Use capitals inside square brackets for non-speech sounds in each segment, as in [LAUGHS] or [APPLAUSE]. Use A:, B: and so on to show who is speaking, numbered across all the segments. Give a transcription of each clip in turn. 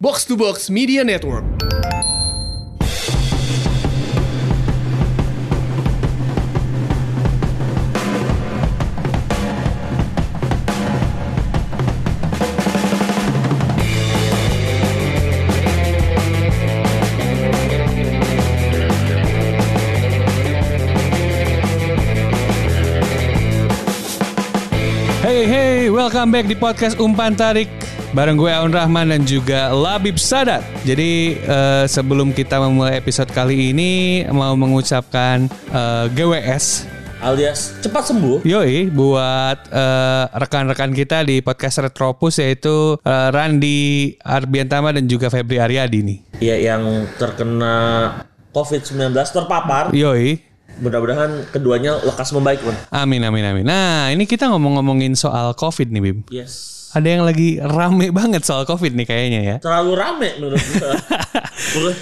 A: Box to Box Media Network.
B: Hey hey, welcome back di podcast Umpan Tarik bareng gue Aun Rahman dan juga Labib Sadat. Jadi eh, sebelum kita memulai episode kali ini mau mengucapkan eh, GWS
C: alias cepat sembuh.
B: Yoi buat eh, rekan-rekan kita di podcast Retropus yaitu eh, Randi Arbiantama dan juga Febri Aryadi nih.
C: Ya yang terkena COVID-19 terpapar.
B: Yoi.
C: Mudah-mudahan keduanya lekas membaik, Bun.
B: Amin amin amin. Nah, ini kita ngomong-ngomongin soal Covid nih, Bib.
C: Yes.
B: Ada yang lagi rame banget soal Covid nih kayaknya ya.
C: Terlalu rame menurut
B: [LAUGHS]
C: gue. bukan,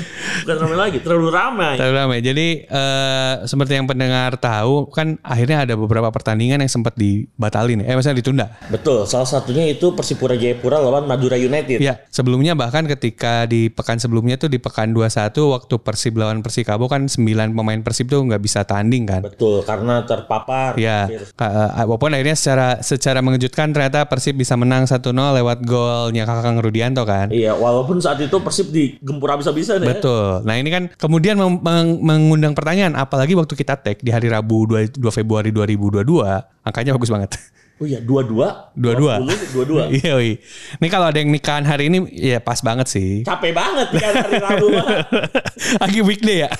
C: bukan rame lagi, terlalu ramai.
B: Terlalu ramai. Jadi eh, seperti yang pendengar tahu kan akhirnya ada beberapa pertandingan yang sempat dibatalin. Eh maksudnya ditunda.
C: Betul, salah satunya itu Persipura Jayapura lawan Madura United.
B: Ya, sebelumnya bahkan ketika di pekan sebelumnya tuh di pekan 21 waktu Persib lawan Persikabo kan 9 pemain Persib tuh nggak bisa tanding kan.
C: Betul, Iya. karena terpapar.
B: Ya,
C: virus.
B: ka- eh, walaupun akhirnya secara secara mengejutkan ternyata Persib bisa menang 1-0 lewat golnya Kakang Rudianto kan.
C: Iya, walaupun saat itu Persib digempur habis-habisan ya.
B: Betul. Nah ini kan kemudian mem- meng- mengundang pertanyaan, apalagi waktu kita tag di hari Rabu 2, 2 Februari 2022, angkanya bagus banget.
C: Oh iya, dua-dua.
B: Dua-dua.
C: 20, Dua-dua.
B: [LAUGHS] Iya, oi. Ini kalau ada yang nikahan hari ini, ya pas banget sih. [LAUGHS]
C: Capek banget kan hari Rabu. Bang.
B: lagi weekday ya.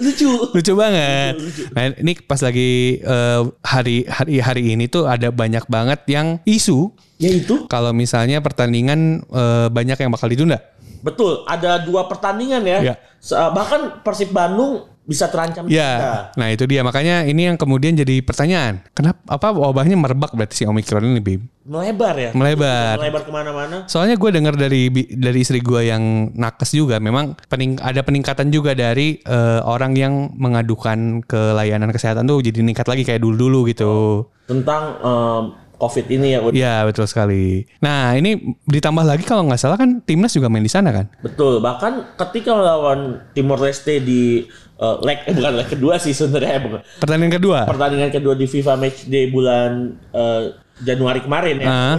C: Lucu.
B: Lucu banget. Nah, ini pas lagi eh, hari hari hari ini tuh ada banyak banget yang isu
C: Ya itu
B: kalau misalnya pertandingan eh, banyak yang bakal ditunda.
C: Betul, ada dua pertandingan ya.
B: Iya.
C: Se- Bahkan Persib Bandung bisa terancam cedera.
B: Ya, nah itu dia makanya ini yang kemudian jadi pertanyaan. Kenapa apa wabahnya merebak berarti si Omikron ini, Bim?
C: Melebar ya.
B: Melebar.
C: Melebar kemana-mana.
B: Soalnya gue dengar dari bi- dari istri gue yang nakes juga, memang pening, ada peningkatan juga dari eh, orang yang mengadukan ke layanan kesehatan tuh jadi meningkat lagi kayak dulu-dulu gitu.
C: Tentang em, COVID ini ya. Bud.
B: Iya betul sekali. Nah ini ditambah lagi kalau nggak salah kan timnas juga main di sana kan?
C: Betul, bahkan ketika lawan Timor Leste di eh, leg, eh, bukan leg kedua sih sebenarnya. Eh, bukan.
B: Pertandingan kedua.
C: Pertandingan kedua di FIFA Matchday bulan eh, Januari kemarin ya.
B: Ah.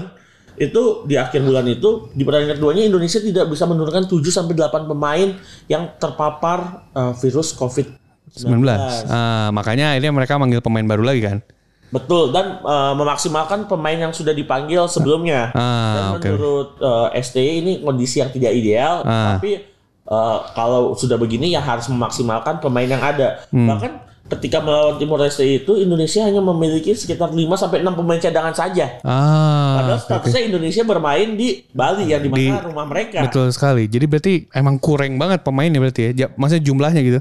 C: Itu di akhir bulan itu di pertandingan keduanya Indonesia tidak bisa menurunkan 7 sampai 8 pemain yang terpapar eh, virus COVID-19.
B: 19. Ah, makanya akhirnya mereka manggil pemain baru lagi kan?
C: Betul dan eh, memaksimalkan pemain yang sudah dipanggil sebelumnya.
B: Ah,
C: dan
B: oke.
C: menurut eh, STY ini kondisi yang tidak ideal,
B: Ah.
C: tapi eh, kalau sudah begini ya harus memaksimalkan pemain yang ada.
B: Hmm.
C: Bahkan ketika melawan Timor Leste E itu Indonesia hanya memiliki sekitar 5 sampai 6 pemain cadangan saja.
B: Ah,
C: Padahal statusnya Indonesia bermain di Bali yang
B: Di-
C: dimana rumah mereka. Betul.
B: betul sekali. Jadi berarti emang kurang banget pemainnya berarti ya? Ja- Maksudnya jumlahnya gitu?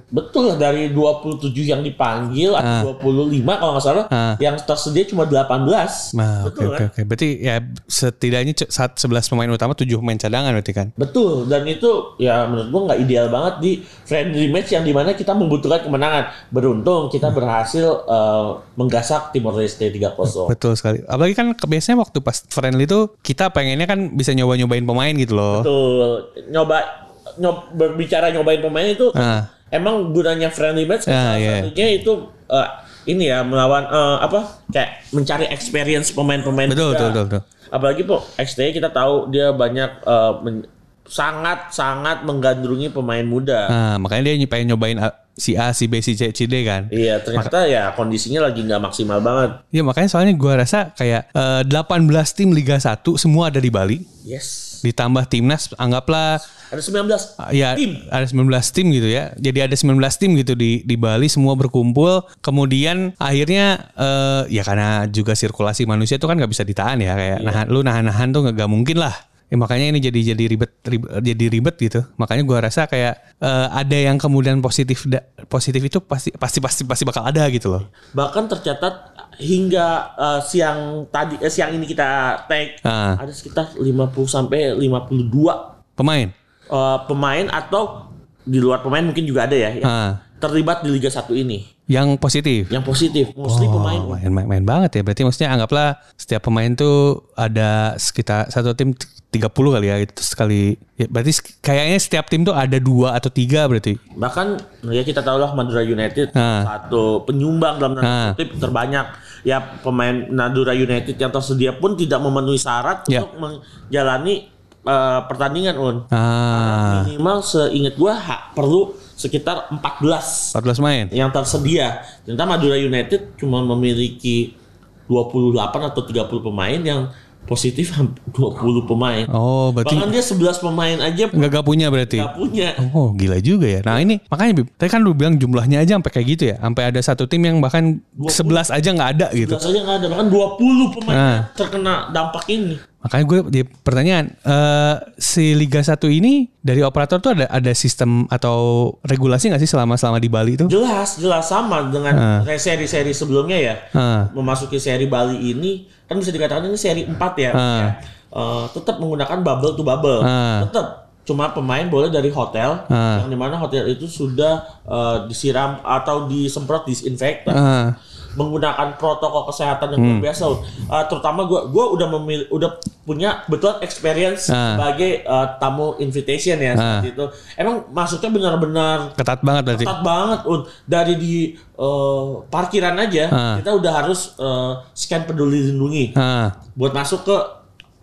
C: dari 27 yang dipanggil atau 25 kalau nggak salah
B: Ah.
C: yang tersedia cuma 18.
B: Nah, oke
C: Betul kan?
B: oke oke. Berarti ya setidaknya ce- saat 11 pemain utama 7 pemain cadangan berarti kan?
C: Betul, dan itu ya menurut gua nggak ideal banget di friendly match yang dimana kita membutuhkan kemenangan. Beruntung
B: Hmm.
C: kita berhasil eh, menggasak Timor Leste 3-0.
B: Betul sekali. Apalagi kan ke- biasanya waktu pas friendly itu kita pengennya kan bisa nyoba-nyobain pemain gitu loh.
C: Betul, nyoba nyob, berbicara nyobain pemain itu
B: Ah.
C: emang gunanya friendly match
B: Ah,
C: kan salah
B: iya.
C: satunya itu eh, ini ya melawan eh, apa kayak mencari experience pemain-pemain
B: Betul,
C: juga.
B: betul, betul, betul.
C: apalagi po XT kita tahu dia banyak eh, men- sangat sangat menggandrungi pemain muda
B: Nah, makanya dia pengen nyobain uh, si A, si B, si C, si D kan.
C: Iya ternyata ya kondisinya lagi nggak maksimal banget.
B: Ya makanya soalnya gua rasa kayak eh, 18 tim Liga 1 semua ada di Bali,
C: Yes.
B: ditambah timnas anggaplah
C: Ada 19.
B: eh, ya
C: Tim.
B: ada 19 tim gitu ya. Jadi ada 19 tim gitu di di Bali semua berkumpul. Kemudian akhirnya eh, ya karena juga sirkulasi manusia itu kan nggak bisa ditahan ya kayak nahan lu nahan-nahan tuh nggak nggak mungkin lah. Ya, makanya ini jadi jadi ribet, ribet- jadi ribet gitu. Makanya gua rasa kayak eh, ada yang kemudian positif da- positif itu pasti pasti pasti pasti bakal ada gitu loh.
C: Bahkan tercatat hingga eh, siang tadi eh, siang ini kita take
B: Ah.
C: ada sekitar 50 sampai 52
B: Pemain.
C: eh, pemain atau di luar pemain mungkin juga ada ya yang
B: Ah.
C: terlibat di Liga 1 ini.
B: yang positif.
C: yang positif mostly
B: Oh,
C: pemain
B: main, main, main banget ya. Berarti maksudnya anggaplah setiap pemain tuh ada sekitar satu tim t- 30 kali ya itu sekali. Ya, berarti s- kayaknya setiap tim tuh ada dua atau tiga berarti.
C: bahkan ya kita tahu lah Madura United
B: Ah.
C: satu penyumbang
B: Ah.
C: dalam tanda kutip terbanyak ya pemain Madura United yang tersedia pun tidak memenuhi syarat
B: Ya.
C: untuk menjalani eh, pertandingan un
B: Ah,
C: minimal seingat gua ha- perlu sekitar 14
B: 14 main.
C: yang tersedia ternyata Madura United cuma memiliki 28 atau 30 pemain yang positif hampir 20 pemain
B: Oh, berarti
C: bahkan dia 11 pemain aja
B: nggak gak punya berarti.
C: nggak punya
B: Oh gila juga ya. Nah ini makanya Bib, tadi kan lu bilang jumlahnya aja sampai kayak gitu ya. Sampai ada satu tim yang bahkan 11 aja nggak ada gitu.
C: Jelas aja nggak ada bahkan 20 pemain
B: Nah.
C: yang terkena dampak ini.
B: Makanya gue jadi pertanyaan eh si Liga 1 ini dari operator tuh ada ada sistem atau regulasi nggak sih selama selama di Bali tuh?
C: Jelas, jelas sama dengan kayak seri-seri sebelumnya ya.
B: Ah.
C: Memasuki seri Bali ini kan bisa dikatakan ini seri 4 ya.
B: Ah.
C: Eh, tetap menggunakan bubble to bubble.
B: Ah.
C: Tetap cuma pemain boleh dari hotel
B: Ah.
C: yang dimana hotel itu sudah eh, disiram atau disemprot disinfektan.
B: Ah,
C: menggunakan protokol kesehatan yang luar
B: Hmm.
C: biasa. Uh, terutama gue gue udah memil udah punya betul experience
B: Ah.
C: sebagai uh, tamu invitation
B: Ah.
C: ya seperti itu. Emang masuknya benar-benar
B: ketat banget berarti.
C: ketat banget Un. dari di uh, parkiran aja
B: Ah.
C: kita udah harus uh, scan peduli lindungi
B: Ah,
C: buat masuk ke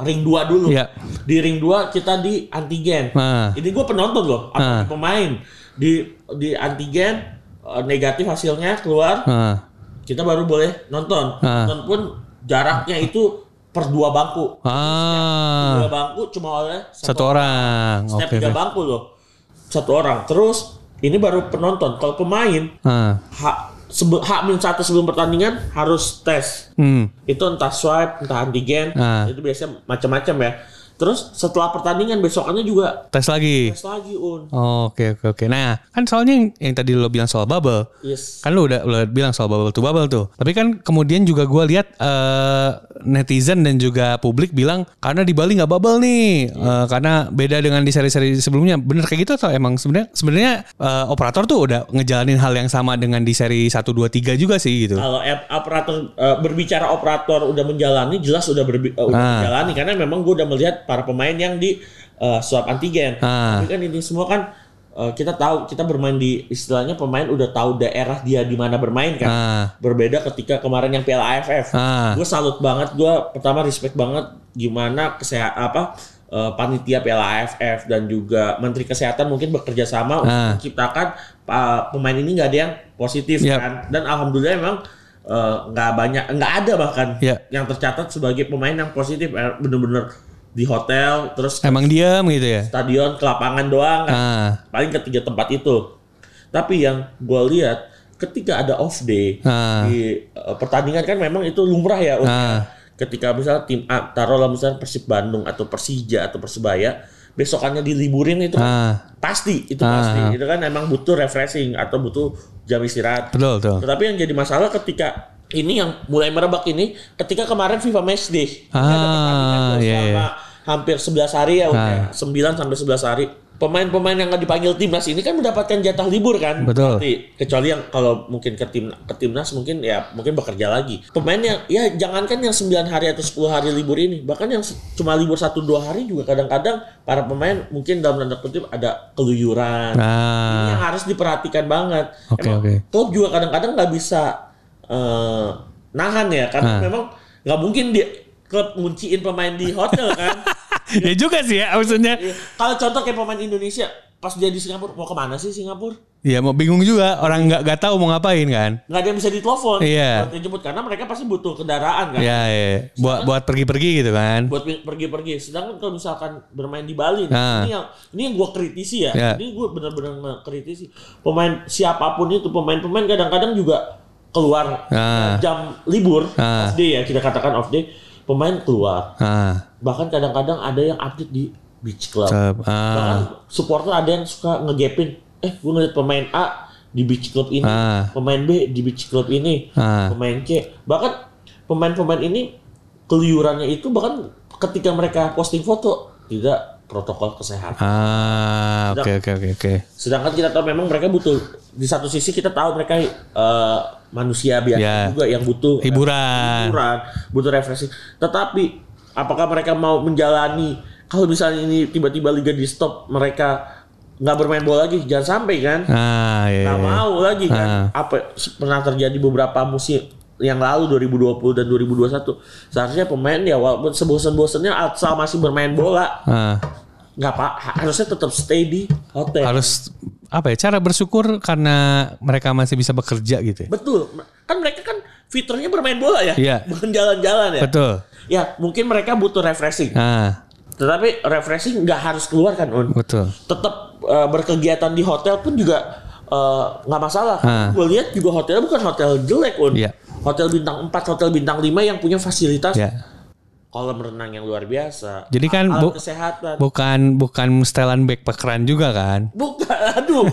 C: ring 2 dulu.
B: Iya.
C: Di ring 2 kita di antigen.
B: Ah.
C: Ini gue penonton loh,
B: Ah.
C: apa pemain di di antigen uh, negatif hasilnya keluar
B: ah,
C: kita baru boleh nonton.
B: Ah.
C: Nonton pun jaraknya itu per dua bangku.
B: ah,
C: Dua bangku cuma oleh
B: satu orang.
C: Setiap
B: Oke.
C: tiga
B: oke.
C: bangku loh. Satu orang. Terus ini baru penonton. Kalau pemain
B: Ah,
C: hak sebe- hak min satu sebelum pertandingan harus tes.
B: hmm,
C: Itu entah swab, entah antigen,
B: Ah.
C: itu biasanya macam-macam ya. Terus setelah pertandingan besokannya juga
B: tes lagi.
C: tes lagi un.
B: Oke, oke, oke. Nah, kan soalnya yang, yang tadi lo bilang soal bubble,
C: Yes.
B: Kan lu udah, udah bilang soal bubble to bubble tuh. Tapi kan kemudian juga gua lihat eh, netizen dan juga publik bilang karena di Bali nggak bubble nih, Eh, karena beda dengan di seri-seri sebelumnya. Bener kayak gitu atau emang sebenarnya sebenarnya eh, operator tuh udah ngejalanin hal yang sama dengan di seri 1 2 3 juga sih gitu.
C: kalau ep- operator eh, berbicara operator udah menjalani jelas udah, berbi- eh, udah
B: Ah.
C: menjalani karena memang gue udah melihat para pemain yang di eh, swab antigen
B: Ah.
C: tapi kan ini semua kan eh, kita tahu kita bermain di istilahnya pemain udah tahu daerah dia di mana bermain kan
B: Ah.
C: berbeda ketika kemarin yang Piala AFF
B: Ah.
C: gue salut banget gue pertama respect banget gimana kesehat apa eh, panitia Piala AFF dan juga Menteri Kesehatan mungkin bekerja sama untuk
B: Ah.
C: menciptakan eh, pemain ini nggak ada yang positif
B: Yap.
C: kan dan alhamdulillah emang eh, nggak banyak nggak ada bahkan
B: Ya.
C: yang tercatat sebagai pemain yang positif Eh, bener-bener di hotel terus ke
B: Emang diam gitu ya.
C: stadion ke lapangan doang kan.
B: Ah.
C: paling ketiga tempat itu tapi yang gue lihat ketika ada off day
B: Ah.
C: di eh, pertandingan kan memang itu lumrah ya Om.
B: Ah.
C: ketika misalnya tim A taruhlah misalnya Persib Bandung atau Persija atau Persebaya besokannya diliburin itu kan
B: Ah.
C: pasti itu
B: Ah.
C: pasti itu kan emang butuh refreshing atau butuh jam istirahat
B: Betul tuh.
C: tetapi yang jadi masalah ketika ini yang mulai merebak ini ketika kemarin FIFA Matchday
B: Ah,
C: Ini ada pertandingan tuh
B: iya,
C: selama
B: iya.
C: hampir 11 hari ya udah 9 sampai 11 hari pemain-pemain yang nggak dipanggil timnas ini kan mendapatkan jatah libur kan
B: Betul.
C: Berarti, kecuali yang kalau mungkin ke tim ke timnas mungkin ya mungkin bekerja lagi pemain yang ya jangankan yang 9 hari atau 10 hari libur ini bahkan yang se- cuma libur 1 2 hari juga kadang-kadang para pemain mungkin dalam tanda kutip ada keluyuran ini
B: Nah.
C: yang harus diperhatikan banget.
B: Oke,
C: Emang
B: oke.
C: Klub juga kadang-kadang nggak bisa eh, nahan ya
B: Ah.
C: karena memang nggak mungkin dia klub ngunciin pemain di
B: [LAUGHS]
C: hotel kan.
B: ya juga sih ya maksudnya.
C: Iya. Kalau contoh kayak pemain Indonesia pas dia di Singapura mau kemana sih Singapura?
B: Ya mau bingung juga orang nggak nggak tahu mau ngapain kan.
C: Nggak ada yang bisa ditelepon
B: Iya.
C: buat dijemput karena mereka pasti butuh kendaraan kan.
B: Ya, ya. buat buat pergi-pergi gitu kan.
C: buat pi- pergi-pergi. Sedangkan kalau misalkan bermain di Bali, nih,
B: Ah.
C: ini yang ini yang gue kritisi ya.
B: Ya.
C: Ini gue benar-benar kritisi pemain siapapun itu pemain-pemain kadang-kadang juga keluar eh,
B: Ah.
C: jam libur
B: Ah.
C: off day ya kita katakan off day pemain keluar
B: Ah.
C: bahkan kadang-kadang ada yang update di beach club
B: Cep- ah.
C: bahkan supporter ada yang suka ngegapin eh gue ngeliat pemain A di beach club ini
B: Ah.
C: pemain B di beach club ini
B: Ah.
C: pemain C bahkan pemain-pemain ini keluyurannya itu bahkan ketika mereka posting foto tidak protokol kesehatan.
B: Ah, oke oke oke oke.
C: Sedangkan kita tahu memang mereka butuh di satu sisi kita tahu mereka eh, manusia biasa
B: Ya.
C: juga yang butuh
B: Hiburan.
C: hiburan, butuh refreshing. Tetapi apakah mereka mau menjalani kalau misalnya ini tiba-tiba liga di stop mereka nggak bermain bola lagi jangan sampai kan
B: Ah, iya.
C: nggak mau lagi kan
B: Ah.
C: apa pernah terjadi beberapa musim yang lalu 2020 dan 2021 seharusnya pemain ya walaupun sebosen-bosennya asal masih bermain bola
B: Ah,
C: nggak pak harusnya tetap stay di hotel
B: harus apa ya? Cara bersyukur karena mereka masih bisa bekerja gitu. ya.
C: betul kan mereka kan fiturnya bermain bola ya
B: Iya.
C: bukan jalan-jalan ya
B: Betul.
C: ya mungkin mereka butuh refreshing
B: Ah,
C: tetapi refreshing nggak harus keluar kan un
B: betul.
C: tetap eh, berkegiatan di hotel pun juga eh, nggak masalah.
B: Ah.
C: Gue lihat juga hotelnya bukan hotel jelek, Un.
B: Iya.
C: Hotel bintang 4, hotel bintang 5 yang punya fasilitas
B: Ya.
C: kolam renang yang luar biasa.
B: Jadi kan
C: alat
B: bu-
C: kesehatan.
B: Bukan bukan setelan backpackeran juga kan?
C: Bukan, [LAUGHS] aduh.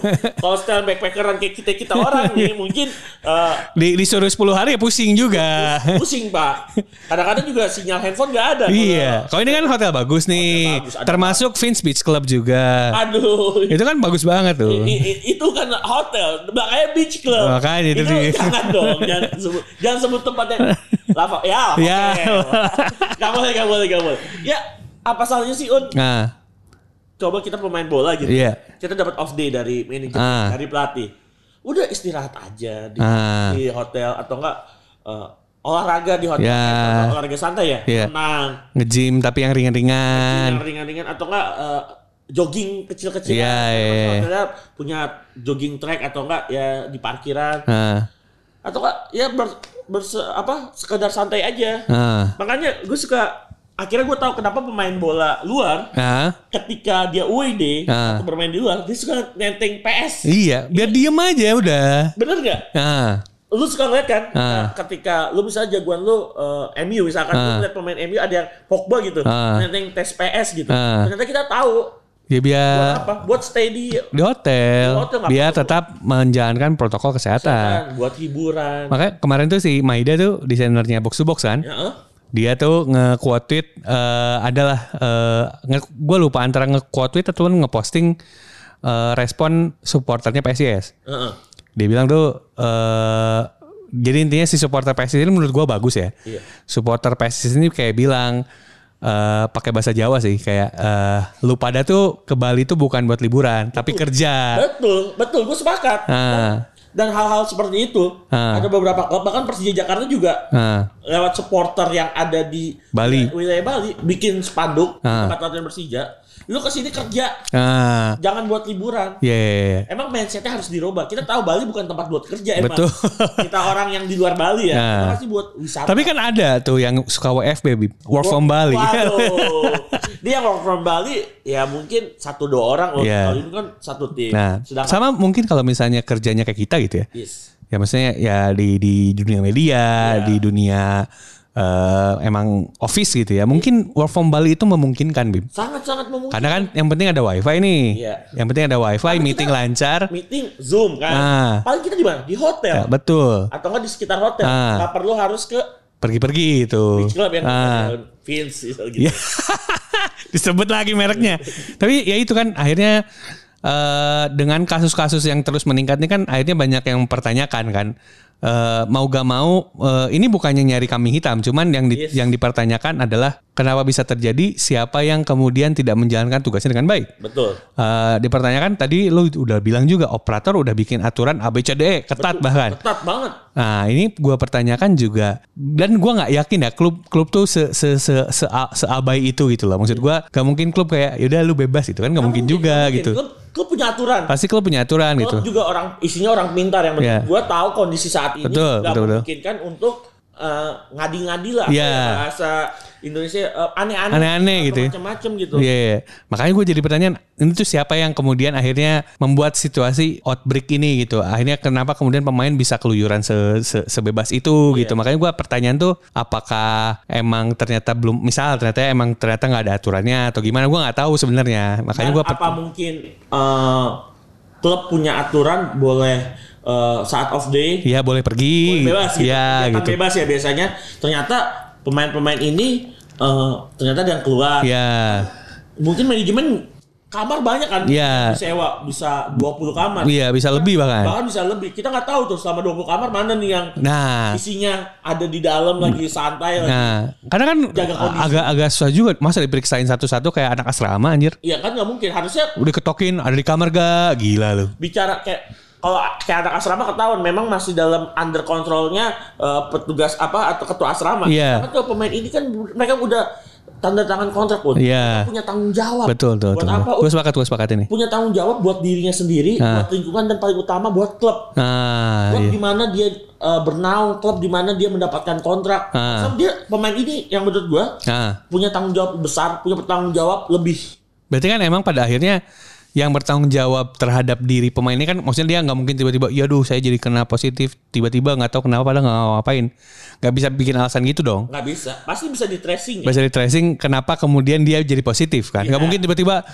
C: Kalau style backpackeran kayak kita-kita orang
B: [LAUGHS] Iya.
C: nih mungkin eh,
B: Di disuruh 10 hari ya pusing
C: [LAUGHS]
B: juga.
C: pusing, Pak. Kadang-kadang juga sinyal handphone nggak ada.
B: Iya, kalau ini kan hotel bagus nih,
C: bagus, ada-
B: termasuk Vince Beach Club juga.
C: Aduh.
B: Itu kan bagus banget tuh.
C: I- i- itu kan hotel makanya beach club
B: Makanya itu dia.
C: jangan dong jangan sebut jangan sebut tempatnya lava ya hotel.
B: Ya.
C: gak boleh gak boleh gak boleh ya apa salahnya sih un
B: Nah,
C: coba kita pemain bola gitu
B: Iya.
C: kita dapat off day dari manajer
B: Ah.
C: dari pelatih udah istirahat aja di,
B: Ah.
C: di hotel atau enggak eh, olahraga di hotel
B: Ya.
C: Atau olahraga santai ya
B: Iya.
C: renang
B: nge-gym tapi yang
C: yang
B: ringan-ringan.
C: ringan-ringan atau enggak eh, jogging kecil-kecilan.
B: Iya, iya, iya.
C: Maksudnya punya jogging track atau enggak ya di parkiran
B: Ah,
C: atau enggak ya ber, berse- apa sekedar santai aja.
B: ah,
C: Makanya gue suka akhirnya gue tahu kenapa pemain bola luar
B: ah.
C: ketika dia away day
B: Ah.
C: atau bermain di luar dia suka nenteng PS.
B: Iya, biar diem aja udah.
C: Bener nggak?
B: Ah,
C: Lu suka ngeliat kan
B: Ah.
C: ketika lu misalnya jagoan lu eh, MU misalkan lu
B: Ah.
C: ngeliat pemain MU ada yang Pogba gitu
B: Ah.
C: nenteng tes PS gitu.
B: Ah.
C: Ternyata kita tahu
B: ya
C: buat
B: biar
C: apa? Buat stay di
B: di hotel,
C: Di hotel nggak
B: biar
C: perlu.
B: tetap menjalankan protokol kesehatan.
C: Kan, buat hiburan.
B: Makanya kemarin tuh si Maida tuh desainernya box to box kan.
C: Ya, eh?
B: dia tuh nge-quote tweet eh, adalah gue lupa antara nge-quote tweet atau nge-posting eh, respon supporternya PSIS.
C: Heeh.
B: Dia bilang tuh eh jadi intinya si supporter PSIS ini menurut gua bagus ya.
C: Iya.
B: Supporter PSIS ini kayak bilang eh pakai bahasa Jawa sih kayak eh, lu pada tuh ke Bali tuh bukan buat liburan tapi kerja.
C: Betul, betul. Gue sepakat.
B: Ah,
C: Dan hal-hal seperti itu
B: Ah.
C: ada beberapa klub bahkan Persija Jakarta juga
B: ah,
C: lewat supporter yang ada di
B: Bali.
C: wilayah Bali bikin spanduk
B: Ah.
C: tempat latihan Persija. Lu kesini kerja,
B: ah, Iya,
C: jangan buat liburan.
B: yeah, yeah, yeah.
C: Emang mindsetnya harus dirubah. Kita tahu Bali bukan tempat buat kerja emang.
B: Betul.
C: Kita orang yang di luar Bali ya, kita
B: Nah.
C: pasti buat wisata.
B: Tapi kan ada tuh yang suka WFB, Bib. work from Bali.
C: Waduh. [LAUGHS] Dia work from Bali ya mungkin satu dua orang loh.
B: Iya.
C: Kalau ini kan satu tim.
B: Nah,
C: Sedangkan Iya.
B: sama mungkin kalau misalnya kerjanya kayak kita gitu ya.
C: Yes.
B: Ya maksudnya ya di di dunia media,
C: Iya.
B: di dunia eh, emang office gitu ya. Mungkin work from Bali itu memungkinkan, Bim.
C: sangat-sangat memungkinkan.
B: Karena kan yang penting ada wifi nih.
C: Iya.
B: Yang penting ada wifi, meeting lancar.
C: Meeting Zoom kan.
B: Ah.
C: Paling kita di mana? Di hotel.
B: Ya, betul.
C: Atau nggak di sekitar hotel.
B: Ah.
C: Nggak perlu harus ke
B: Pergi-pergi itu.
C: beach club yang
B: Ah.
C: Vince gitu.
B: Ya. [LAUGHS] Disebut lagi mereknya. Tapi ya itu kan akhirnya eh, dengan kasus-kasus yang terus meningkat ini kan akhirnya banyak yang mempertanyakan kan Eh, mau gak mau eh, ini bukannya nyari kambing hitam, cuman yang di-
C: Yes.
B: yang dipertanyakan adalah kenapa bisa terjadi siapa yang kemudian tidak menjalankan tugasnya dengan baik.
C: Betul.
B: Eh, dipertanyakan tadi lu udah bilang juga operator udah bikin aturan ABCDE E, ketat bahkan.
C: Ketat banget.
B: Nah ini gua pertanyakan juga dan gua nggak yakin ya klub klub tuh se se se, se- seabai itu gitu loh. Maksud gua gak mungkin klub kayak yaudah lu bebas gitu kan nggak mungkin juga gitu.
C: Lu, lu punya aturan.
B: Pasti klub punya aturan
C: Klub
B: gitu.
C: juga orang isinya orang pintar yang
B: Iya.
C: gue tahu kondisi saat ini
B: Betul,
C: nggak
B: betul, betul.
C: memungkinkan untuk eh, ngadi-ngadi lah
B: Iya.
C: bahasa Indonesia eh, aneh-aneh
B: Aneh-aneh
C: atau
B: gitu ya.
C: macam-macam gitu
B: Iya, iya. makanya gue jadi pertanyaan ini tuh siapa yang kemudian akhirnya membuat situasi outbreak ini gitu. Akhirnya kenapa kemudian pemain bisa keluyuran se, se- sebebas itu gitu. Makanya gue pertanyaan tuh apakah emang ternyata belum misal ternyata emang ternyata nggak ada aturannya atau gimana gue nggak tahu sebenarnya. Makanya
C: Dan
B: gue
C: Kan apa mungkin eh, klub punya aturan boleh eh, saat off day
B: Iya boleh pergi.
C: bebas gitu.
B: Iya
C: Kegiatan
B: gitu.
C: bebas ya biasanya ternyata pemain-pemain ini eh, ternyata ada yang keluar
B: Iya.
C: mungkin manajemen kamar banyak kan
B: Iya.
C: sewa bisa 20 kamar
B: Iya bisa lebih bahkan.
C: bahkan bisa lebih kita nggak tahu tuh selama 20 kamar mana nih yang
B: Nah,
C: isinya ada di dalam lagi santai lagi
B: nah, karena kan
C: Jaga kondisi.
B: agak-agak susah juga masa diperiksain satu-satu kayak anak asrama anjir.
C: Iya kan nggak mungkin harusnya
B: Udah ketokin ada di kamar gak? Gila lu.
C: bicara kayak kalau kayak anak asrama ketahuan memang masih dalam under kontrolnya eh, petugas apa atau ketua asrama.
B: Iya.
C: Karena tuh pemain ini kan mereka udah tanda tangan kontrak pun.
B: Iya.
C: Punya tanggung jawab.
B: Betul, betul,
C: Oh, Buat
B: betul.
C: apa?
B: Gue sepakat, gue sepakat ini.
C: Punya tanggung jawab buat dirinya sendiri,
B: Ah.
C: buat lingkungan dan paling utama buat klub.
B: Nah,
C: Klub
B: iya.
C: di mana dia eh, bernaung, klub di mana dia mendapatkan kontrak.
B: Ah.
C: So, dia pemain ini yang menurut gua
B: Nah,
C: punya tanggung jawab besar, punya tanggung jawab lebih.
B: berarti kan emang pada akhirnya yang bertanggung jawab terhadap diri pemain ini kan maksudnya dia nggak mungkin tiba-tiba ya duh saya jadi kena positif tiba-tiba nggak tahu kenapa padahal nggak ngapain nggak bisa bikin alasan gitu dong
C: nggak bisa, pasti bisa di tracing. ya.
B: bisa di tracing kenapa kemudian dia jadi positif kan
C: Iya.
B: nggak mungkin tiba-tiba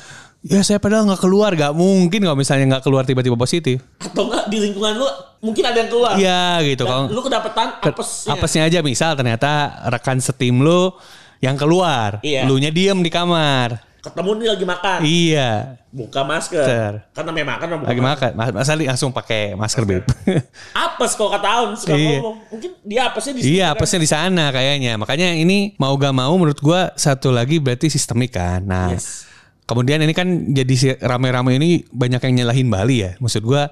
B: ya saya padahal nggak keluar nggak mungkin kalau misalnya nggak keluar tiba-tiba positif
C: atau enggak di lingkungan lu mungkin ada yang keluar.
B: Iya gitu kalau
C: Nah, Lu ya. iya. kedapetan apesnya.
B: apesnya aja misal ternyata rekan setim lu yang keluar
C: Iya. Ah.
B: lu nya diem di kamar
C: Ketemu nih lagi makan,
B: iya
C: buka masker.
B: Ter.
C: Karena memang makan buka
B: lagi makan Mas- masa li- langsung pakai masker beb
C: masker. Apes kalau kata Aun suka
B: Iya.
C: ngomong. Mungkin dia apesnya di kan?
B: Iya, apesnya di sana kayaknya. Makanya ini mau gak mau menurut gua satu lagi berarti sistemik kan. Nah,
C: Yes.
B: kemudian ini kan jadi si- rame-rame ini banyak yang nyalahin Bali ya. Maksud gua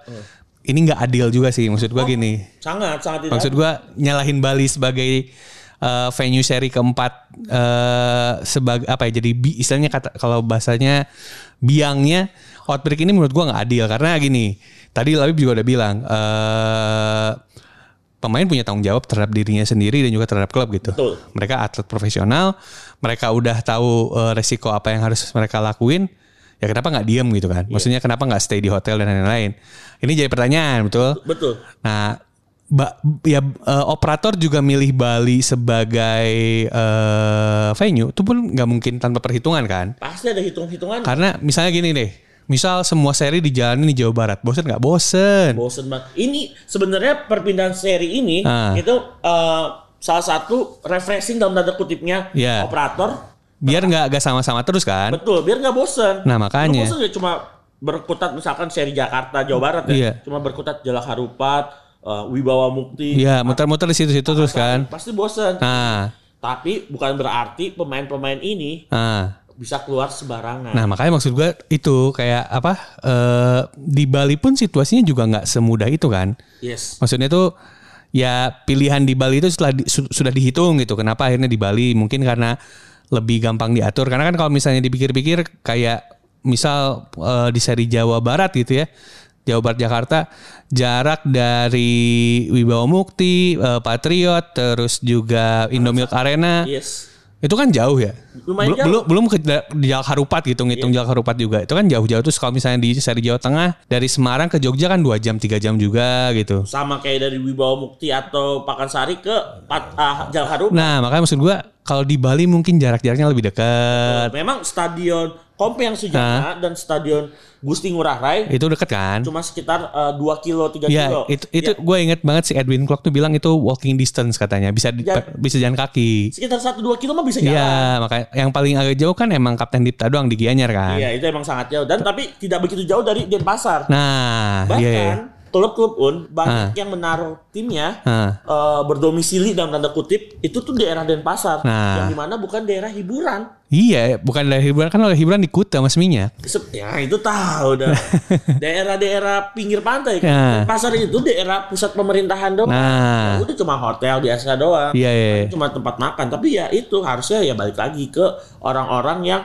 B: ini nggak adil juga sih. Maksud gua gini.
C: Sangat sangat tidak.
B: Maksud gua nyalahin Bali sebagai eh, venue seri keempat eh sebagai apa ya jadi bi- istilahnya kata kalau bahasanya biangnya outbreak ini menurut gua nggak adil karena gini tadi Labib juga udah bilang eh pemain punya tanggung jawab terhadap dirinya sendiri dan juga terhadap klub gitu.
C: Betul.
B: Mereka atlet profesional, mereka udah tahu eh, resiko apa yang harus mereka lakuin. Ya kenapa nggak diem gitu kan? Maksudnya kenapa nggak stay di hotel dan lain-lain? Ini jadi pertanyaan betul.
C: Betul.
B: Nah, ba- ya eh, operator juga milih Bali sebagai eh, venue itu pun nggak mungkin tanpa perhitungan kan?
C: Pasti ada hitung-hitungan.
B: Karena misalnya gini deh, misal semua seri dijalanin di Jawa Barat, bosen nggak bosen?
C: Bosen banget. Ini sebenarnya perpindahan seri ini
B: Ah.
C: itu eh, salah satu refreshing dalam tanda kutipnya
B: Iya.
C: operator.
B: Biar nggak nggak sama-sama terus kan?
C: Betul, biar nggak bosen.
B: Nah, makanya.
C: Lu bosen nggak cuma berkutat misalkan seri Jakarta, Jawa Barat ya.
B: Iya.
C: Cuma berkutat Jalak Harupat, eh, Wibawa Mukti.
B: Iya, muter-muter di situ-situ terus kan?
C: Pasti bosen.
B: Nah,
C: Tapi bukan berarti pemain-pemain ini
B: nah.
C: bisa keluar sembarangan.
B: Nah makanya maksud gue itu kayak apa eh, di Bali pun situasinya juga nggak semudah itu kan?
C: Yes.
B: Maksudnya tuh ya pilihan di Bali itu setelah di- su- sudah dihitung gitu. Kenapa akhirnya di Bali? Mungkin karena lebih gampang diatur. Karena kan kalau misalnya dipikir-pikir kayak misal eh, di seri Jawa Barat gitu ya. Jawa Barat Jakarta jarak dari Wibawa Mukti, eh, Patriot, terus juga Indomilk Arena.
C: Yes.
B: Itu kan jauh ya.
C: Lumayan
B: belum belum belum ke da- di Jalak Harupat gitu ngitung Jalak Harupat juga. Itu kan jauh-jauh terus kalau misalnya di seri Jawa Tengah dari Semarang ke Jogja kan 2 jam 3 jam juga gitu.
C: Sama kayak dari Wibawa Mukti atau Pakansari ke Pat, ah, Jalak Harupat.
B: Nah, makanya maksud gua kalau di Bali mungkin jarak-jaraknya lebih dekat.
C: Memang stadion Kompe yang
B: Nah.
C: sejarah dan stadion Gusti Ngurah Rai
B: Itu dekat kan?
C: cuma sekitar eh, 2 kilo 3
B: Ya,
C: kilo. Iya.
B: itu itu gue inget banget si Edwin Klock tuh bilang itu walking distance katanya, bisa di-
C: Ya.
B: bisa jalan kaki.
C: Sekitar 1 2 kilo mah bisa jalan.
B: Iya, makanya yang paling agak jauh kan emang Kapten Dipta doang di Gianyar kan.
C: Iya itu emang sangat jauh dan tapi tidak begitu jauh dari Denpasar.
B: Nah,
C: Bahkan
B: iya. iya.
C: klub-klub un banyak yang menaruh timnya
B: Ah.
C: eh, berdomisili dalam tanda kutip itu tuh daerah Denpasar
B: Nah.
C: yang dimana bukan daerah hiburan.
B: Iya, bukan dari hiburan kan oleh hiburan di Kuta Mas Minyak.
C: Se- Ya itu tahu
B: [LAUGHS]
C: dah daerah-daerah pinggir pantai.
B: Nah.
C: Denpasar itu daerah pusat pemerintahan doang.
B: Nah,
C: Ya Udah cuma hotel biasa doang.
B: iya iya.
C: Cuma tempat makan tapi ya itu harusnya ya balik lagi ke orang-orang yang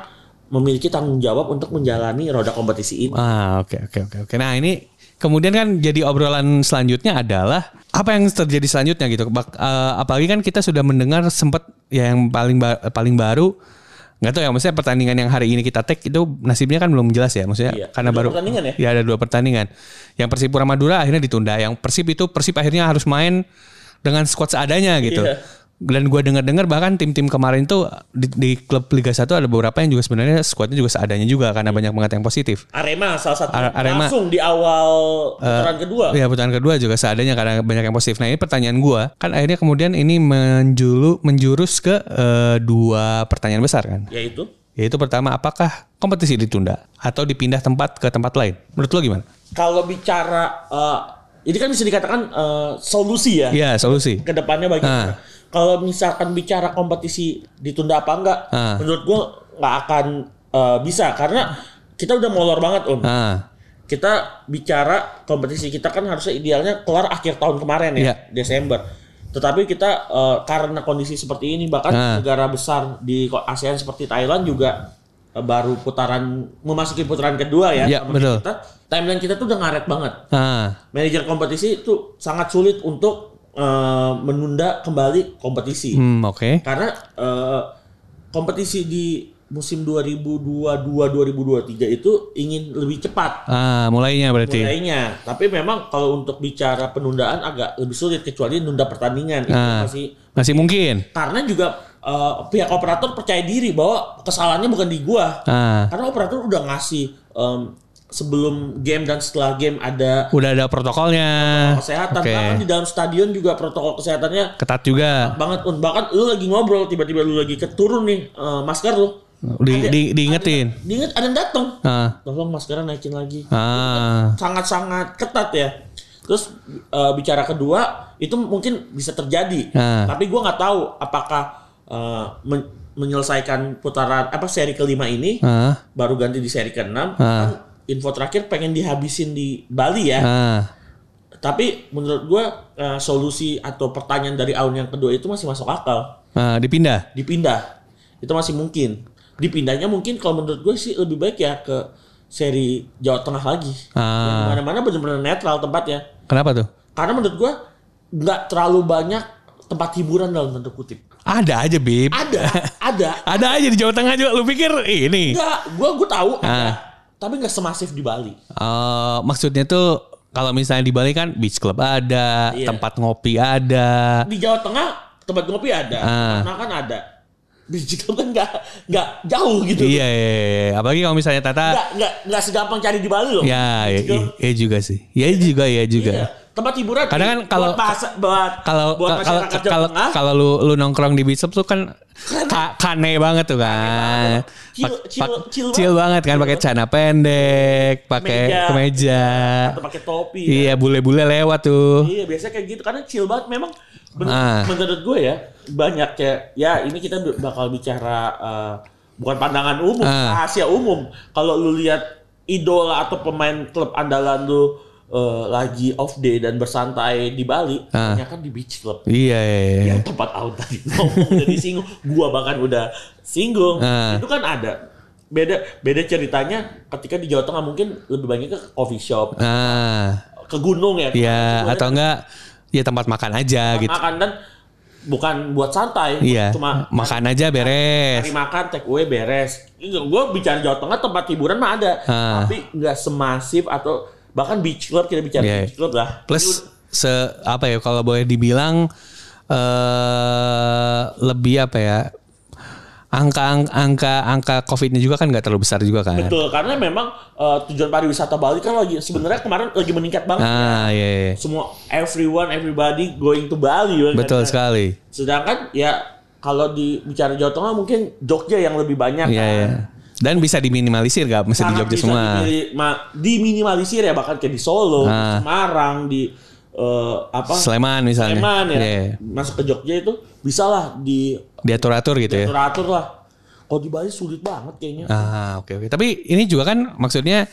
C: memiliki tanggung jawab untuk menjalani roda kompetisi ini.
B: Ah, oke oke oke oke. Nah, ini kemudian kan jadi obrolan selanjutnya adalah apa yang terjadi selanjutnya gitu. Bak- eh, apalagi kan kita sudah mendengar sempat ya yang paling ba- paling baru nggak tahu ya maksudnya pertandingan yang hari ini kita take itu nasibnya kan belum jelas ya maksudnya
C: Iya.
B: karena
C: Dua
B: baru
C: pertandingan ya?
B: ada dua pertandingan yang Persipura Madura akhirnya ditunda yang Persib itu Persib akhirnya harus main dengan squad seadanya gitu
C: Iya.
B: dan gue dengar-dengar bahkan tim-tim kemarin tuh di, di klub Liga 1 ada beberapa yang juga sebenarnya squadnya juga seadanya juga
C: Iya.
B: karena banyak banget yang positif
C: Arema salah satu
B: Are- Arema.
C: langsung di awal putaran kedua.
B: Ya putaran kedua juga seadanya karena banyak yang positif. Nah ini pertanyaan gua kan akhirnya kemudian ini menjulu menjurus ke eh, dua pertanyaan besar kan.
C: Yaitu
B: Yaitu pertama, apakah kompetisi ditunda atau dipindah tempat ke tempat lain? Menurut lo gimana?
C: Kalau bicara eh, ini kan bisa dikatakan eh, solusi ya
B: Iya, solusi.
C: ke depannya bagi
B: Ah.
C: Kalau misalkan bicara kompetisi ditunda apa enggak,
B: Ah.
C: menurut gua nggak akan eh, bisa karena kita udah molor banget om.
B: Ah,
C: Kita bicara kompetisi kita kan harusnya idealnya kelar akhir tahun kemarin ya,
B: Iya.
C: Desember. Tetapi kita eh, karena kondisi seperti ini bahkan
B: Ah.
C: negara besar di ko- ASEAN seperti Thailand juga eh, baru putaran memasuki putaran kedua ya.
B: Iya,
C: sama
B: betul.
C: Kita, timeline kita tuh udah ngaret banget
B: ah,
C: manajer kompetisi itu sangat sulit untuk eh, menunda kembali kompetisi
B: hmm, oke.
C: karena eh, kompetisi di musim 2022-2023 itu ingin lebih cepat
B: Ah, mulainya berarti.
C: mulainya tapi memang kalau untuk bicara penundaan agak lebih sulit kecuali nunda pertandingan itu
B: Ah.
C: masih
B: Masih mungkin.
C: karena juga eh, pihak operator percaya diri bahwa kesalahannya bukan di gua
B: Ah,
C: karena operator udah ngasih em, sebelum game dan setelah game ada
B: udah ada protokolnya.
C: kesehatan
B: Oke.
C: bahkan di dalam stadion juga protokol kesehatannya
B: Ketat juga.
C: banget un bahkan lu lagi ngobrol tiba-tiba lu lagi keturun nih eh, masker lu
B: Di, di, diingetin.
C: diinget ada yang datang
B: Ah,
C: tolong maskernya naikin lagi
B: ah,
C: sangat-sangat ketat ya terus eh, bicara kedua itu mungkin bisa terjadi
B: Ah.
C: tapi gua nggak tahu apakah eh, men- menyelesaikan putaran apa seri kelima ini
B: ah,
C: baru ganti di seri
B: Ah.
C: keenam Kan info terakhir pengen dihabisin di Bali ya
B: ah.
C: Tapi menurut gua eh, solusi atau pertanyaan dari Aun yang kedua itu masih masuk akal.
B: Ah, dipindah.
C: Dipindah. Itu masih mungkin. Dipindahnya mungkin kalau menurut gue sih lebih baik ya ke seri Jawa Tengah lagi.
B: Ah.
C: Yang mana-mana benar-benar netral tempatnya.
B: Kenapa tuh?
C: Karena menurut gua nggak terlalu banyak tempat hiburan dalam tanda kutip.
B: Ada aja, Bib. [LAUGHS]
C: Ada, ada.
B: Ada aja di Jawa Tengah juga. Lu pikir ini?
C: Enggak, gua gua tahu ada.
B: Ah.
C: Tapi nggak semasif di Bali.
B: Eh, maksudnya tuh kalau misalnya di Bali kan beach club ada,
C: Iya.
B: tempat ngopi ada.
C: di Jawa Tengah tempat ngopi ada,
B: Ah.
C: tempat makan ada. Biji kan nggak nggak jauh gitu.
B: Iya, iya, iya. apalagi kalau misalnya Tata
C: Nggak nggak nggak segampang cari di Bali loh.
B: ya iya,
C: Biji
B: iya, iya juga sih. Ya iya juga ya juga.
C: Iya. Tempat hiburan.
B: Kadang kan kalau-
C: buat bahasa buat
B: Kalau
C: buat
B: kalau
C: masyarakat Jawa
B: kalau
C: Tengah,
B: kalau lu lu nongkrong di beach club tuh kan ka, kane banget tuh kan.
C: Chill-
B: Pak-
C: chill-
B: pak-
C: chill
B: chill banget kan pakai celana pendek, pakai
C: Kemeja.
B: kemeja.
C: atau pakai topi. ya.
B: Iya, bule-bule lewat tuh.
C: Iya, biasanya kayak gitu karena chill banget memang men-
B: Ah.
C: menurut gue ya banyak kayak ya ini kita b- bakal bicara eh, bukan pandangan umum,
B: Ah.
C: rahasia umum. Kalau lu lihat idola atau pemain klub andalan lu eh, lagi off day dan bersantai di Bali,
B: Ah.
C: ternyata di beach club.
B: Iya, iya, iya.
C: Yang tempat out tadi ngomong [LAUGHS] udah disinggung, gua bahkan udah singgung.
B: Ah.
C: Itu kan ada beda beda ceritanya ketika di Jawa Tengah mungkin lebih banyak ke coffee shop,
B: Ah.
C: ke gunung ya.
B: Ya atau enggak ya tempat makan aja gitu.
C: makan dan bukan buat santai
B: Iya.
C: cuma
B: makan aja beres.
C: cari makan take away beres gue bicara Jawa Tengah tempat hiburan mah ada
B: Ah.
C: tapi nggak semasif atau bahkan beach club kita bicara
B: Iya.
C: beach club lah
B: Plus se apa ya kalau boleh dibilang eh lebih apa ya? Angka angka angka Covid-nya juga kan nggak terlalu besar juga kan.
C: betul karena memang eh, tujuan pariwisata Bali kan lagi sebenarnya kemarin lagi meningkat banget
B: Ah, iya, iya.
C: semua everyone everybody going to Bali kan.
B: Betul sekali.
C: sedangkan ya kalau di bicara Jawa Tengah mungkin Jogja yang lebih banyak
B: Iya,
C: kan.
B: iya. Dan bisa diminimalisir gak? Mesti di
C: Sangat
B: Jogja
C: bisa
B: semua.
C: dimini- ma- diminimalisir ya bahkan kayak di Solo, di
B: Ah.
C: Semarang, di eh, apa
B: Sleman misalnya.
C: Sleman ya.
B: Iya, iya.
C: Masuk ke Jogja itu bisalah di
B: Diatur-atur gitu ya.
C: atur lah. Kalau di Bali sulit banget kayaknya.
B: Ah, oke oke. Tapi ini juga kan maksudnya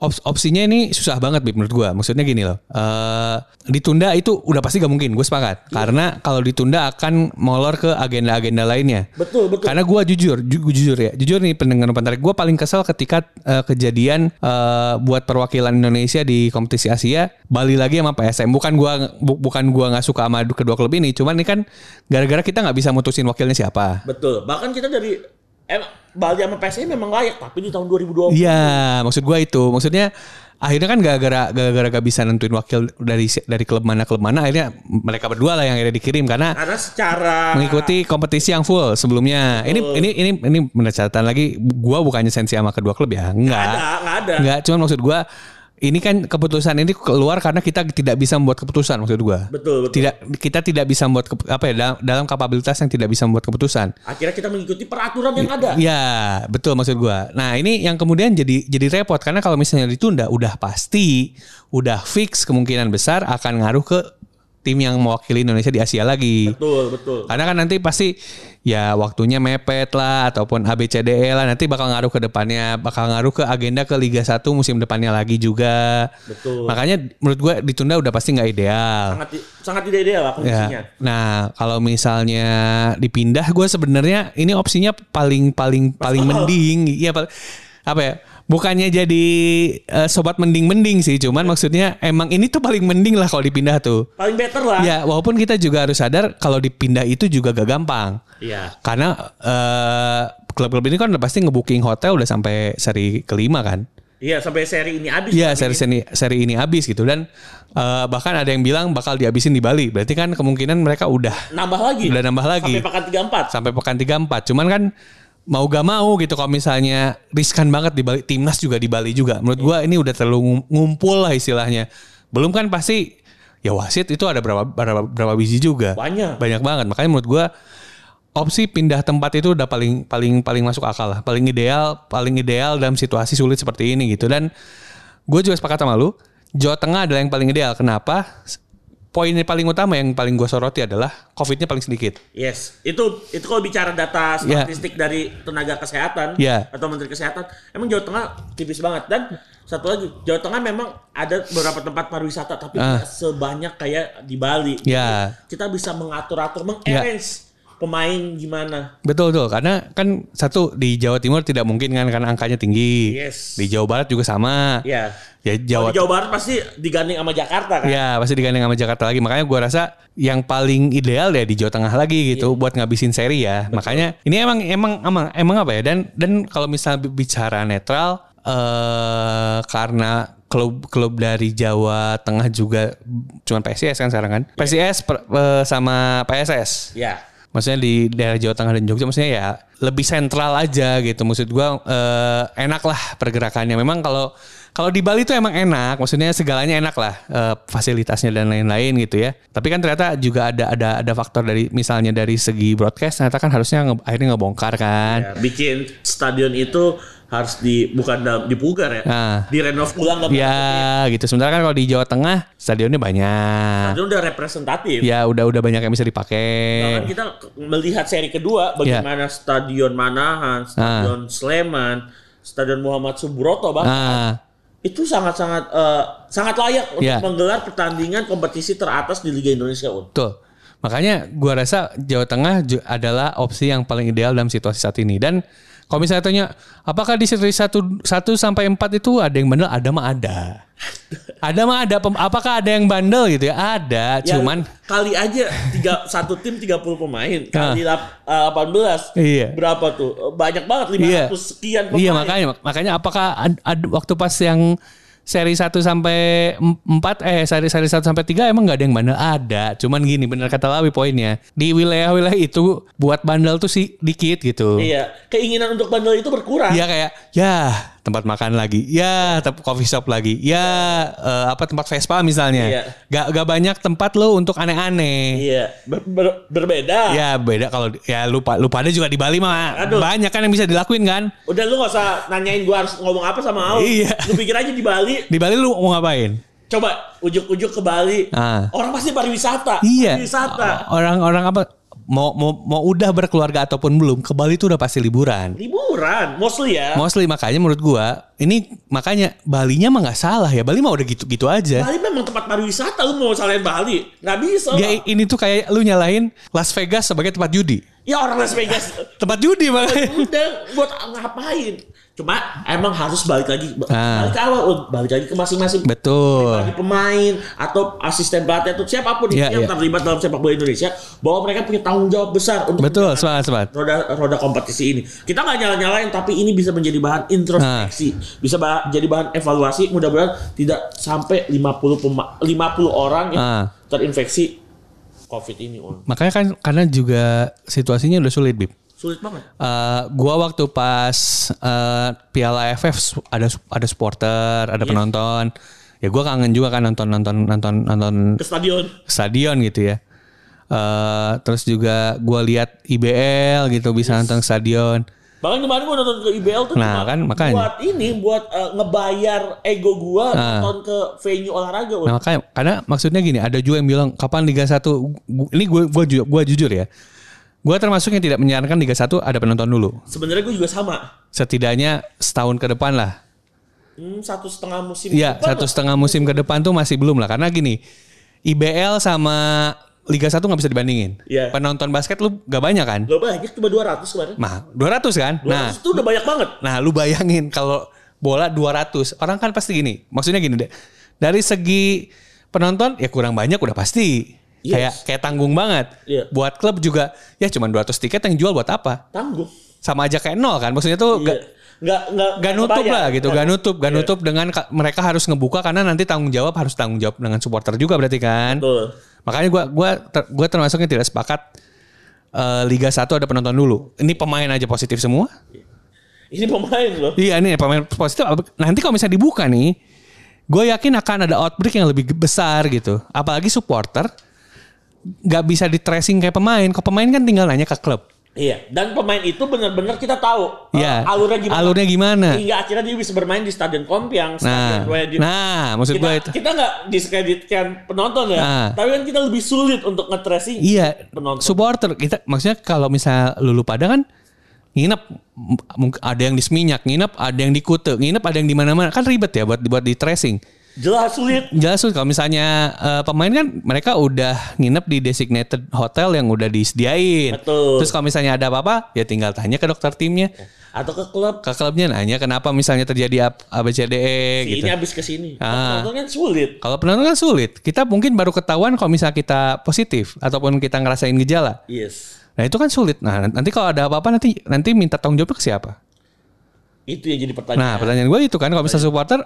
B: op- opsinya ini susah banget Bib menurut gua. Maksudnya gini loh. eh ditunda itu udah pasti gak mungkin, gue sepakat. Karena kalau ditunda akan molor ke agenda-agenda lainnya.
C: Betul, betul.
B: Karena gua jujur, ju- gua jujur ya, jujur nih pendengar pentarik, gue paling kesel ketika eh, kejadian eh, buat perwakilan Indonesia di kompetisi Asia Bali lagi sama PSM. Bukan gua bu- bukan gua nggak suka sama kedua klub ini, cuman ini kan gara-gara kita nggak bisa mutusin wakilnya siapa.
C: Betul. Bahkan kita dari em, Bali sama PSI memang layak, tapi di tahun 2020 gitu.
B: Iya, maksud gua itu. Maksudnya akhirnya kan gara-gara gara-gara gak bisa nentuin wakil dari dari klub mana klub mana akhirnya mereka berdua lah yang akhirnya dikirim karena
C: karena secara
B: mengikuti kompetisi yang full sebelumnya. Ini ini ini ini menurut catatan lagi gua bukannya sensi sama kedua klub ya.
C: nggak ada
B: Enggak.
C: nggak ada.
B: Enggak, cuman maksud gua ini kan keputusan ini keluar karena kita tidak bisa membuat keputusan maksud gua.
C: Betul, betul.
B: Tidak kita tidak bisa membuat kep- apa ya dalam, dalam kapabilitas yang tidak bisa membuat keputusan.
C: Akhirnya kita mengikuti peraturan yang ada.
B: Ya, betul maksud gua. Nah, ini yang kemudian jadi jadi repot karena kalau misalnya ditunda udah pasti, udah fix kemungkinan besar akan ngaruh ke tim yang mewakili Indonesia di Asia lagi.
C: Betul, betul.
B: Karena kan nanti pasti ya waktunya mepet lah ataupun ABCDE E lah nanti bakal ngaruh ke depannya, bakal ngaruh ke agenda ke Liga 1 musim depannya lagi juga.
C: Betul.
B: Makanya menurut gua ditunda udah pasti nggak ideal.
C: Sangat ti- sangat tidak ideal lah kondisinya.
B: Ya. Nah, kalau misalnya dipindah gue sebenarnya ini opsinya paling paling paling mending. Iya, pal- apa ya? Bukannya jadi eh, sobat mending-mending sih, cuman maksudnya emang ini tuh paling mending lah kalau dipindah tuh.
C: Paling better lah.
B: Ya, walaupun kita juga harus sadar kalau dipindah itu juga gak gampang.
C: Iya.
B: Karena eh, klub-klub ini kan udah pasti ngebooking hotel udah sampai seri kelima kan.
C: Iya, sampai seri ini habis.
B: Iya seri seri seri ini habis gitu dan eh, bahkan ada yang bilang bakal dihabisin di Bali. Berarti kan kemungkinan mereka udah
C: Nambah lagi.
B: udah nambah lagi
C: Sampai pekan 34.
B: sampai pekan 34. Cuman kan mau gak mau gitu kalau misalnya riskan banget di Bali timnas juga di Bali juga. Menurut gua ini udah terlalu ngum- ngumpul lah istilahnya. Belum kan pasti ya wasit itu ada berapa berapa, berapa biji juga.
C: Banyak.
B: Banyak banget. Makanya menurut gua opsi pindah tempat itu udah paling paling paling masuk akal lah, paling ideal, paling ideal dalam situasi sulit seperti ini gitu. Dan gue juga sepakat sama lu, Jawa Tengah adalah yang paling ideal. Kenapa? Poin yang paling utama yang paling gue soroti adalah COVID-nya paling sedikit.
C: Yes, itu itu kalau bicara data
B: Iya.
C: statistik dari tenaga kesehatan
B: Ya.
C: atau Menteri Kesehatan, emang Jawa Tengah tipis banget dan satu lagi Jawa Tengah memang ada beberapa tempat pariwisata tapi
B: Ah.
C: tidak sebanyak kayak di Bali.
B: Ya.
C: Jadi Kita
B: Iya.
C: bisa mengatur-atur, mengarrange pemain gimana.
B: Betul betul karena kan satu di Jawa Timur tidak mungkin kan karena angkanya tinggi.
C: Yes.
B: Di Jawa Barat juga sama.
C: Ya.
B: Ya
C: Kalau
B: Jawa
C: di Jawa Barat pasti digandeng sama Jakarta kan.
B: Ya pasti digandeng sama Jakarta lagi Makanya gua rasa yang paling ideal ya di Jawa Tengah lagi
C: Iya.
B: gitu Buat ngabisin seri ya Makanya ini emang emang emang emang apa ya Dan dan kalau misalnya bicara netral eh Karena klub-klub dari Jawa Tengah juga Cuman PSIS kan sekarang kan
C: Iya.
B: PSIS per- eh, sama PSS
C: Ya.
B: Maksudnya di daerah Jawa Tengah dan Jogja maksudnya ya lebih sentral aja gitu. Maksud gua eh, enak lah pergerakannya. Memang kalau kalau di Bali itu emang enak, maksudnya segalanya enak lah eh, fasilitasnya dan lain-lain gitu ya. Tapi kan ternyata juga ada ada ada faktor dari misalnya dari segi broadcast ternyata kan harusnya nge- akhirnya ngebongkar kan.
C: Ya, Bikin stadion itu harus di bukan dalam dipugar ya.
B: Ah.
C: Direnov ulang dan
B: Ya gitu. Sementara kan kalau di Jawa Tengah stadionnya banyak.
C: stadion udah representatif.
B: Ya udah udah banyak yang bisa
C: Bahkan
B: dipakai.
C: kita ke- melihat seri kedua bagaimana stadion Manahan, stadion Sleman, stadion Muhammad Subroto bahkan
B: Nah,
C: itu sangat-sangat eh, sangat layak untuk
B: Ya.
C: menggelar pertandingan kompetisi teratas di Liga Indonesia Un.
B: Betul. Makanya gua rasa Jawa Tengah ju- adalah opsi yang paling ideal dalam situasi saat ini. Dan kalau misalnya tanya, apakah di seri 1, 1 sampai 4 itu ada yang bandel? Ada mah ada. Ada mah ada. Pem- Apakah ada yang bandel gitu ya? Ada.
C: Ya,
B: Cuman
C: kali aja tiga, satu tim 30 pemain kali lap- eh, 18
B: Nah. Iya.
C: berapa tuh Eh, banyak banget 500
B: Iya.
C: sekian pemain
B: iya makanya makanya apakah ad- ad- waktu pas yang seri 1 sampai 4 eh seri seri 1 sampai 3 emang nggak ada yang bandel ada. Cuman gini bener kata Lawi poinnya. Di wilayah-wilayah itu buat bandel tuh sih dikit gitu.
C: iya keinginan untuk bandel itu berkurang
B: Iya kayak ya tempat makan lagi, ya tempat coffee shop lagi, ya eh, apa tempat Vespa misalnya.
C: Iya.
B: Gak gak banyak tempat lo untuk aneh-aneh.
C: Iya, ber- ber- berbeda
B: Ya beda kalau ya lupa lupa ada juga di Bali mah
C: Iya. Aduh.
B: banyak kan yang bisa dilakuin kan.
C: Udah lu gak usah nanyain gua harus ngomong apa sama Aul.
B: Iya.
C: Lu pikir aja di Bali.
B: Di Bali lu mau ngapain?
C: Coba ujuk-ujuk ke Bali.
B: Ah.
C: Orang pasti pariwisata.
B: Iya.
C: Pariwisata.
B: Orang-orang apa mau mau mau udah berkeluarga ataupun belum ke Bali tuh udah pasti liburan.
C: Liburan. Mostly ya.
B: Mostly makanya menurut gua ini makanya Balinya mah nggak salah ya Bali mah udah gitu-gitu aja.
C: Bali memang tempat pariwisata. Lu mau salahin Bali. Gak bisa.
B: Ya,
C: Ya,
B: i- ini tuh kayak lu nyalahin Las Vegas sebagai tempat judi.
C: ya orang Las Vegas.
B: Tempat judi malah.
C: Ya Udah buat ngapain. Cuma emang harus balik lagi. Ba-
B: Ah.
C: Balik ke awal. Un. Balik lagi ke masing-masing.
B: Betul.
C: bagi pemain atau asisten pelatih atau siapapun ya,
B: Iya, iya.
C: yang terlibat dalam sepak bola Indonesia bahwa mereka punya tanggung jawab besar untuk
B: Betul, semangat, semangat.
C: roda roda kompetisi ini. Kita nggak nyala nyalain tapi ini bisa menjadi bahan introspeksi,
B: Nah.
C: bisa ba- jadi bahan evaluasi. Mudah-mudahan tidak sampai 50 pema- 50 orang yang
B: Ah.
C: terinfeksi COVID ini. Om.
B: Makanya kan karena juga situasinya udah sulit, Bib.
C: Sulit banget.
B: Eh, gua waktu pas eh, Piala AFF su- ada su- ada supporter, ada penonton. Ya gua kangen juga kan nonton nonton nonton nonton
C: Ke stadion.
B: stadion gitu ya. Eh, terus juga gua lihat IBL gitu bisa nonton stadion.
C: Bahkan kemarin gua nonton ke IBL tuh
B: Nah,
C: cuma
B: kan, makanya.
C: buat ini buat eh, ngebayar ego gua nonton ke venue olahraga. Woy.
B: Nah, makanya karena maksudnya gini, ada juga yang bilang kapan Liga 1 Gu- ini gue gua, ju- gua jujur ya. Gua termasuk yang tidak menyarankan Liga 1 ada penonton dulu.
C: Sebenarnya gua juga sama.
B: Setidaknya setahun ke depan lah.
C: Hmm, satu setengah musim.
B: Iya,
C: depan
B: satu
C: lah.
B: setengah musim ke depan tuh masih belum lah. Karena gini, IBL sama Liga 1 nggak bisa dibandingin.
C: Iya.
B: Penonton basket lu gak banyak kan?
C: Lo banyak cuma 200 kemarin.
B: Nah, 200 kan?
C: 200
B: Nah,
C: itu udah banyak banget.
B: nah lu bayangin kalau bola 200. Orang kan pasti gini. Maksudnya gini deh. Dari segi penonton ya kurang banyak udah pasti.
C: Yes.
B: Kayak kayak tanggung banget.
C: Iya.
B: Buat klub juga ya cuman 200 tiket yang jual buat apa?
C: Tangguh.
B: Sama aja kayak nol kan. Maksudnya tuh
C: Iya.
B: nggak-
C: Nggak nggak
B: gak nutup
C: kebayang.
B: lah gitu,
C: Nggak.
B: gak nutup, gak nutup dengan ka- mereka harus ngebuka karena nanti tanggung jawab harus tanggung jawab dengan supporter juga berarti kan.
C: Betul.
B: Makanya gua gua ter- gua termasuknya tidak sepakat eh, Liga 1 ada penonton dulu. Ini pemain aja positif semua.
C: Ini pemain loh.
B: Iya ini pemain positif. Nanti kalau misalnya dibuka nih, gue yakin akan ada outbreak yang lebih besar gitu. Apalagi supporter nggak bisa di tracing kayak pemain. Kok pemain kan tinggal nanya ke klub.
C: Iya, dan pemain itu benar-benar kita tahu eh,
B: Iya.
C: alurnya gimana. Iya,
B: Alurnya gimana?
C: Hingga akhirnya dia bisa bermain di Stadion Kompiang,
B: Nah,
C: Stadion Wayadi-
B: nah maksud
C: ya, kita
B: gue itu.
C: kita nggak diskreditkan penonton ya,
B: Nah.
C: tapi kan kita lebih sulit untuk ngetracing
B: Iya,
C: penonton.
B: supporter kita maksudnya kalau misalnya lulu pada kan nginep M- mungkin ada yang di Seminyak, nginep ada yang di Kute, nginep ada yang di mana-mana kan ribet ya buat buat di tracing.
C: Jelas sulit.
B: Jelas tuh kalau misalnya eh, pemain kan mereka udah nginep di designated hotel yang udah disediain.
C: Betul.
B: Terus kalau misalnya ada apa-apa ya tinggal tanya ke dokter timnya,
C: Atau ke klub
B: ke klubnya nanya kenapa misalnya terjadi ap- ABCDE
C: si
B: gitu.
C: ini habis ke sini.
B: Ah.
C: Penonton kan sulit.
B: Kalau penonton kan sulit. Kita mungkin baru ketahuan kalau misalnya kita positif ataupun kita ngerasain gejala.
C: Yes.
B: Nah itu kan sulit. Nah nanti kalau ada apa-apa nanti nanti minta tanggung jawabnya ke siapa?
C: Itu yang jadi
B: Nah
C: pertanyaan.
B: pertanyaan gue itu kan kalau misalnya supporter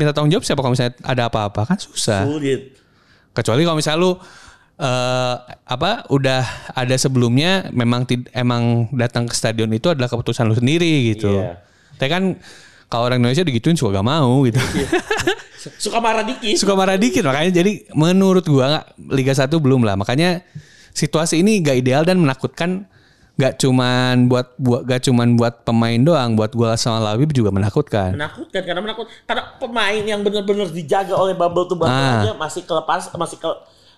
B: minta tanggung jawab siapa kalau misalnya ada apa-apa kan susah.
C: sulit.
B: Kecuali kalau misalnya lu eh, apa udah ada sebelumnya memang tid- emang datang ke stadion itu adalah keputusan lu sendiri gitu.
C: Iya.
B: Tapi kan kalau orang Indonesia digituin suka gak mau gitu.
C: Iya. Suka marah dikit.
B: [LAUGHS] suka marah dikit makanya jadi menurut gua nggak- Liga 1 belum lah makanya situasi ini gak ideal dan menakutkan gak cuman buat buat gak cuman buat pemain doang buat gua sama Lawi juga menakutkan
C: menakutkan karena menakut karena pemain yang benar-benar dijaga oleh bubble tuh
B: Ah.
C: aja masih kelepas masih ke,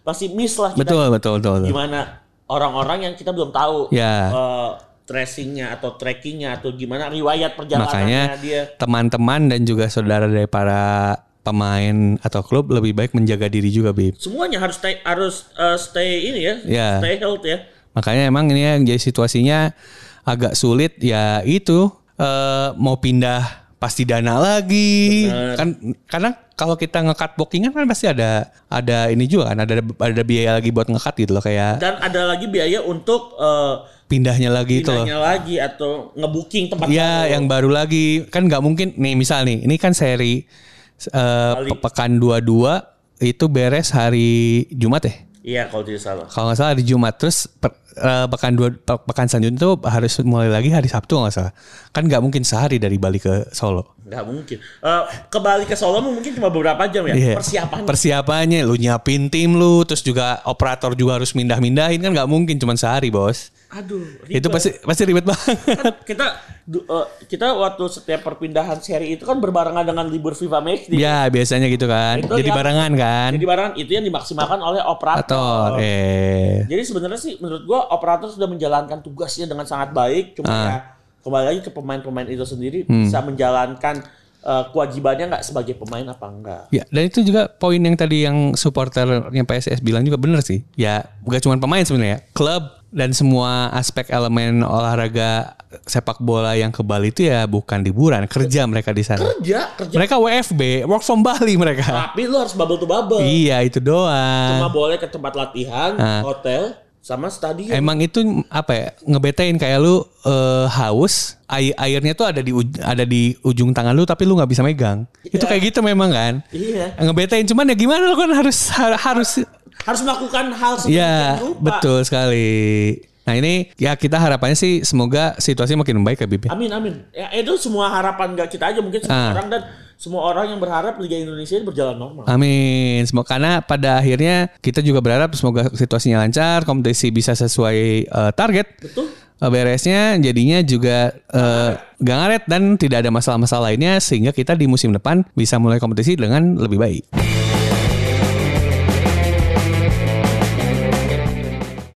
C: masih miss lah kita
B: betul betul betul, betul.
C: gimana orang-orang yang kita belum tahu
B: Ya.
C: eh, tracingnya atau trackingnya atau gimana riwayat
B: makanya
C: perjalanannya dia
B: teman-teman dan juga saudara dari para pemain atau klub lebih baik menjaga diri juga Bib
C: semuanya harus stay harus eh, stay ini ya
B: Ya.
C: stay health ya
B: makanya emang ini yang jadi situasinya agak sulit ya itu eh, mau pindah pasti dana lagi kan karena kalau kita ngekat bookingan kan pasti ada ada ini juga kan ada ada biaya lagi buat ngekat gitu loh kayak
C: dan ada lagi biaya untuk eh,
B: pindahnya lagi itu loh
C: pindahnya lagi atau ngebooking tempat
B: Iya
C: baru.
B: yang baru lagi kan nggak mungkin nih misal nih ini kan seri eh, pe- pekan 22 itu beres hari Jumat ya
C: iya kalau tidak salah
B: kalau nggak salah hari Jumat terus per- eh, pekan dua pe- pekan selanjutnya tuh harus mulai lagi hari Sabtu kalau nggak salah kan nggak mungkin sehari dari Bali ke Solo
C: nggak mungkin Eh, ke Bali ke Solo mungkin cuma beberapa jam ya
B: Iya.
C: persiapan
B: persiapannya lu nyiapin tim lu terus juga operator juga harus mindah-mindahin kan nggak mungkin cuman sehari bos
C: aduh
B: itu pasti pasti ribet banget
C: Kan kita du- eh, kita waktu setiap perpindahan seri itu kan berbarengan dengan libur FIFA Match
B: [LAUGHS]
C: Day.
B: ya biasanya gitu kan
C: Itu
B: jadi
C: yang-
B: barengan kan
C: Jadi barengan itu yang dimaksimalkan oleh operator.
B: atau eh
C: Jadi sebenarnya sih menurut gua operator sudah menjalankan tugasnya dengan sangat baik cuma ya kembali lagi ke pemain-pemain itu sendiri bisa menjalankan eh, kewajibannya nggak sebagai pemain apa enggak.
B: Ya, dan itu juga poin yang tadi yang supporter yang PSS bilang juga bener sih. Ya, bukan cuma pemain sebenarnya, klub dan semua aspek elemen olahraga sepak bola yang ke Bali itu ya bukan liburan, kerja mereka di sana.
C: Kerja, kerja.
B: Mereka WFB, work from Bali mereka.
C: Tapi lu harus bubble to bubble.
B: Iya, itu
C: Cuma
B: doang.
C: boleh ke tempat latihan, hotel, sama stadion.
B: Emang itu apa ya? Ngebetain kayak lu eh, haus, air airnya tuh ada di uj- ada di ujung tangan lu tapi lu nggak bisa megang. Itu kayak gitu memang kan?
C: Iya.
B: Ngebetain cuman ya gimana lu kan harus har- harus
C: Harus melakukan hal sedemikian
B: Ya,
C: rupa.
B: betul sekali. Nah ini ya kita harapannya sih semoga situasi makin baik ya Bib. ya.
C: Amin amin. Ya itu semua harapan nggak kita aja mungkin semua orang dan semua orang yang berharap Liga Indonesia ini berjalan normal.
B: Amin. Semoga karena pada akhirnya kita juga berharap semoga situasinya lancar, kompetisi bisa sesuai eh, target.
C: Betul.
B: Eh, beresnya jadinya juga eh, gak ngaret dan tidak ada masalah-masalah lainnya sehingga kita di musim depan bisa mulai kompetisi dengan lebih baik.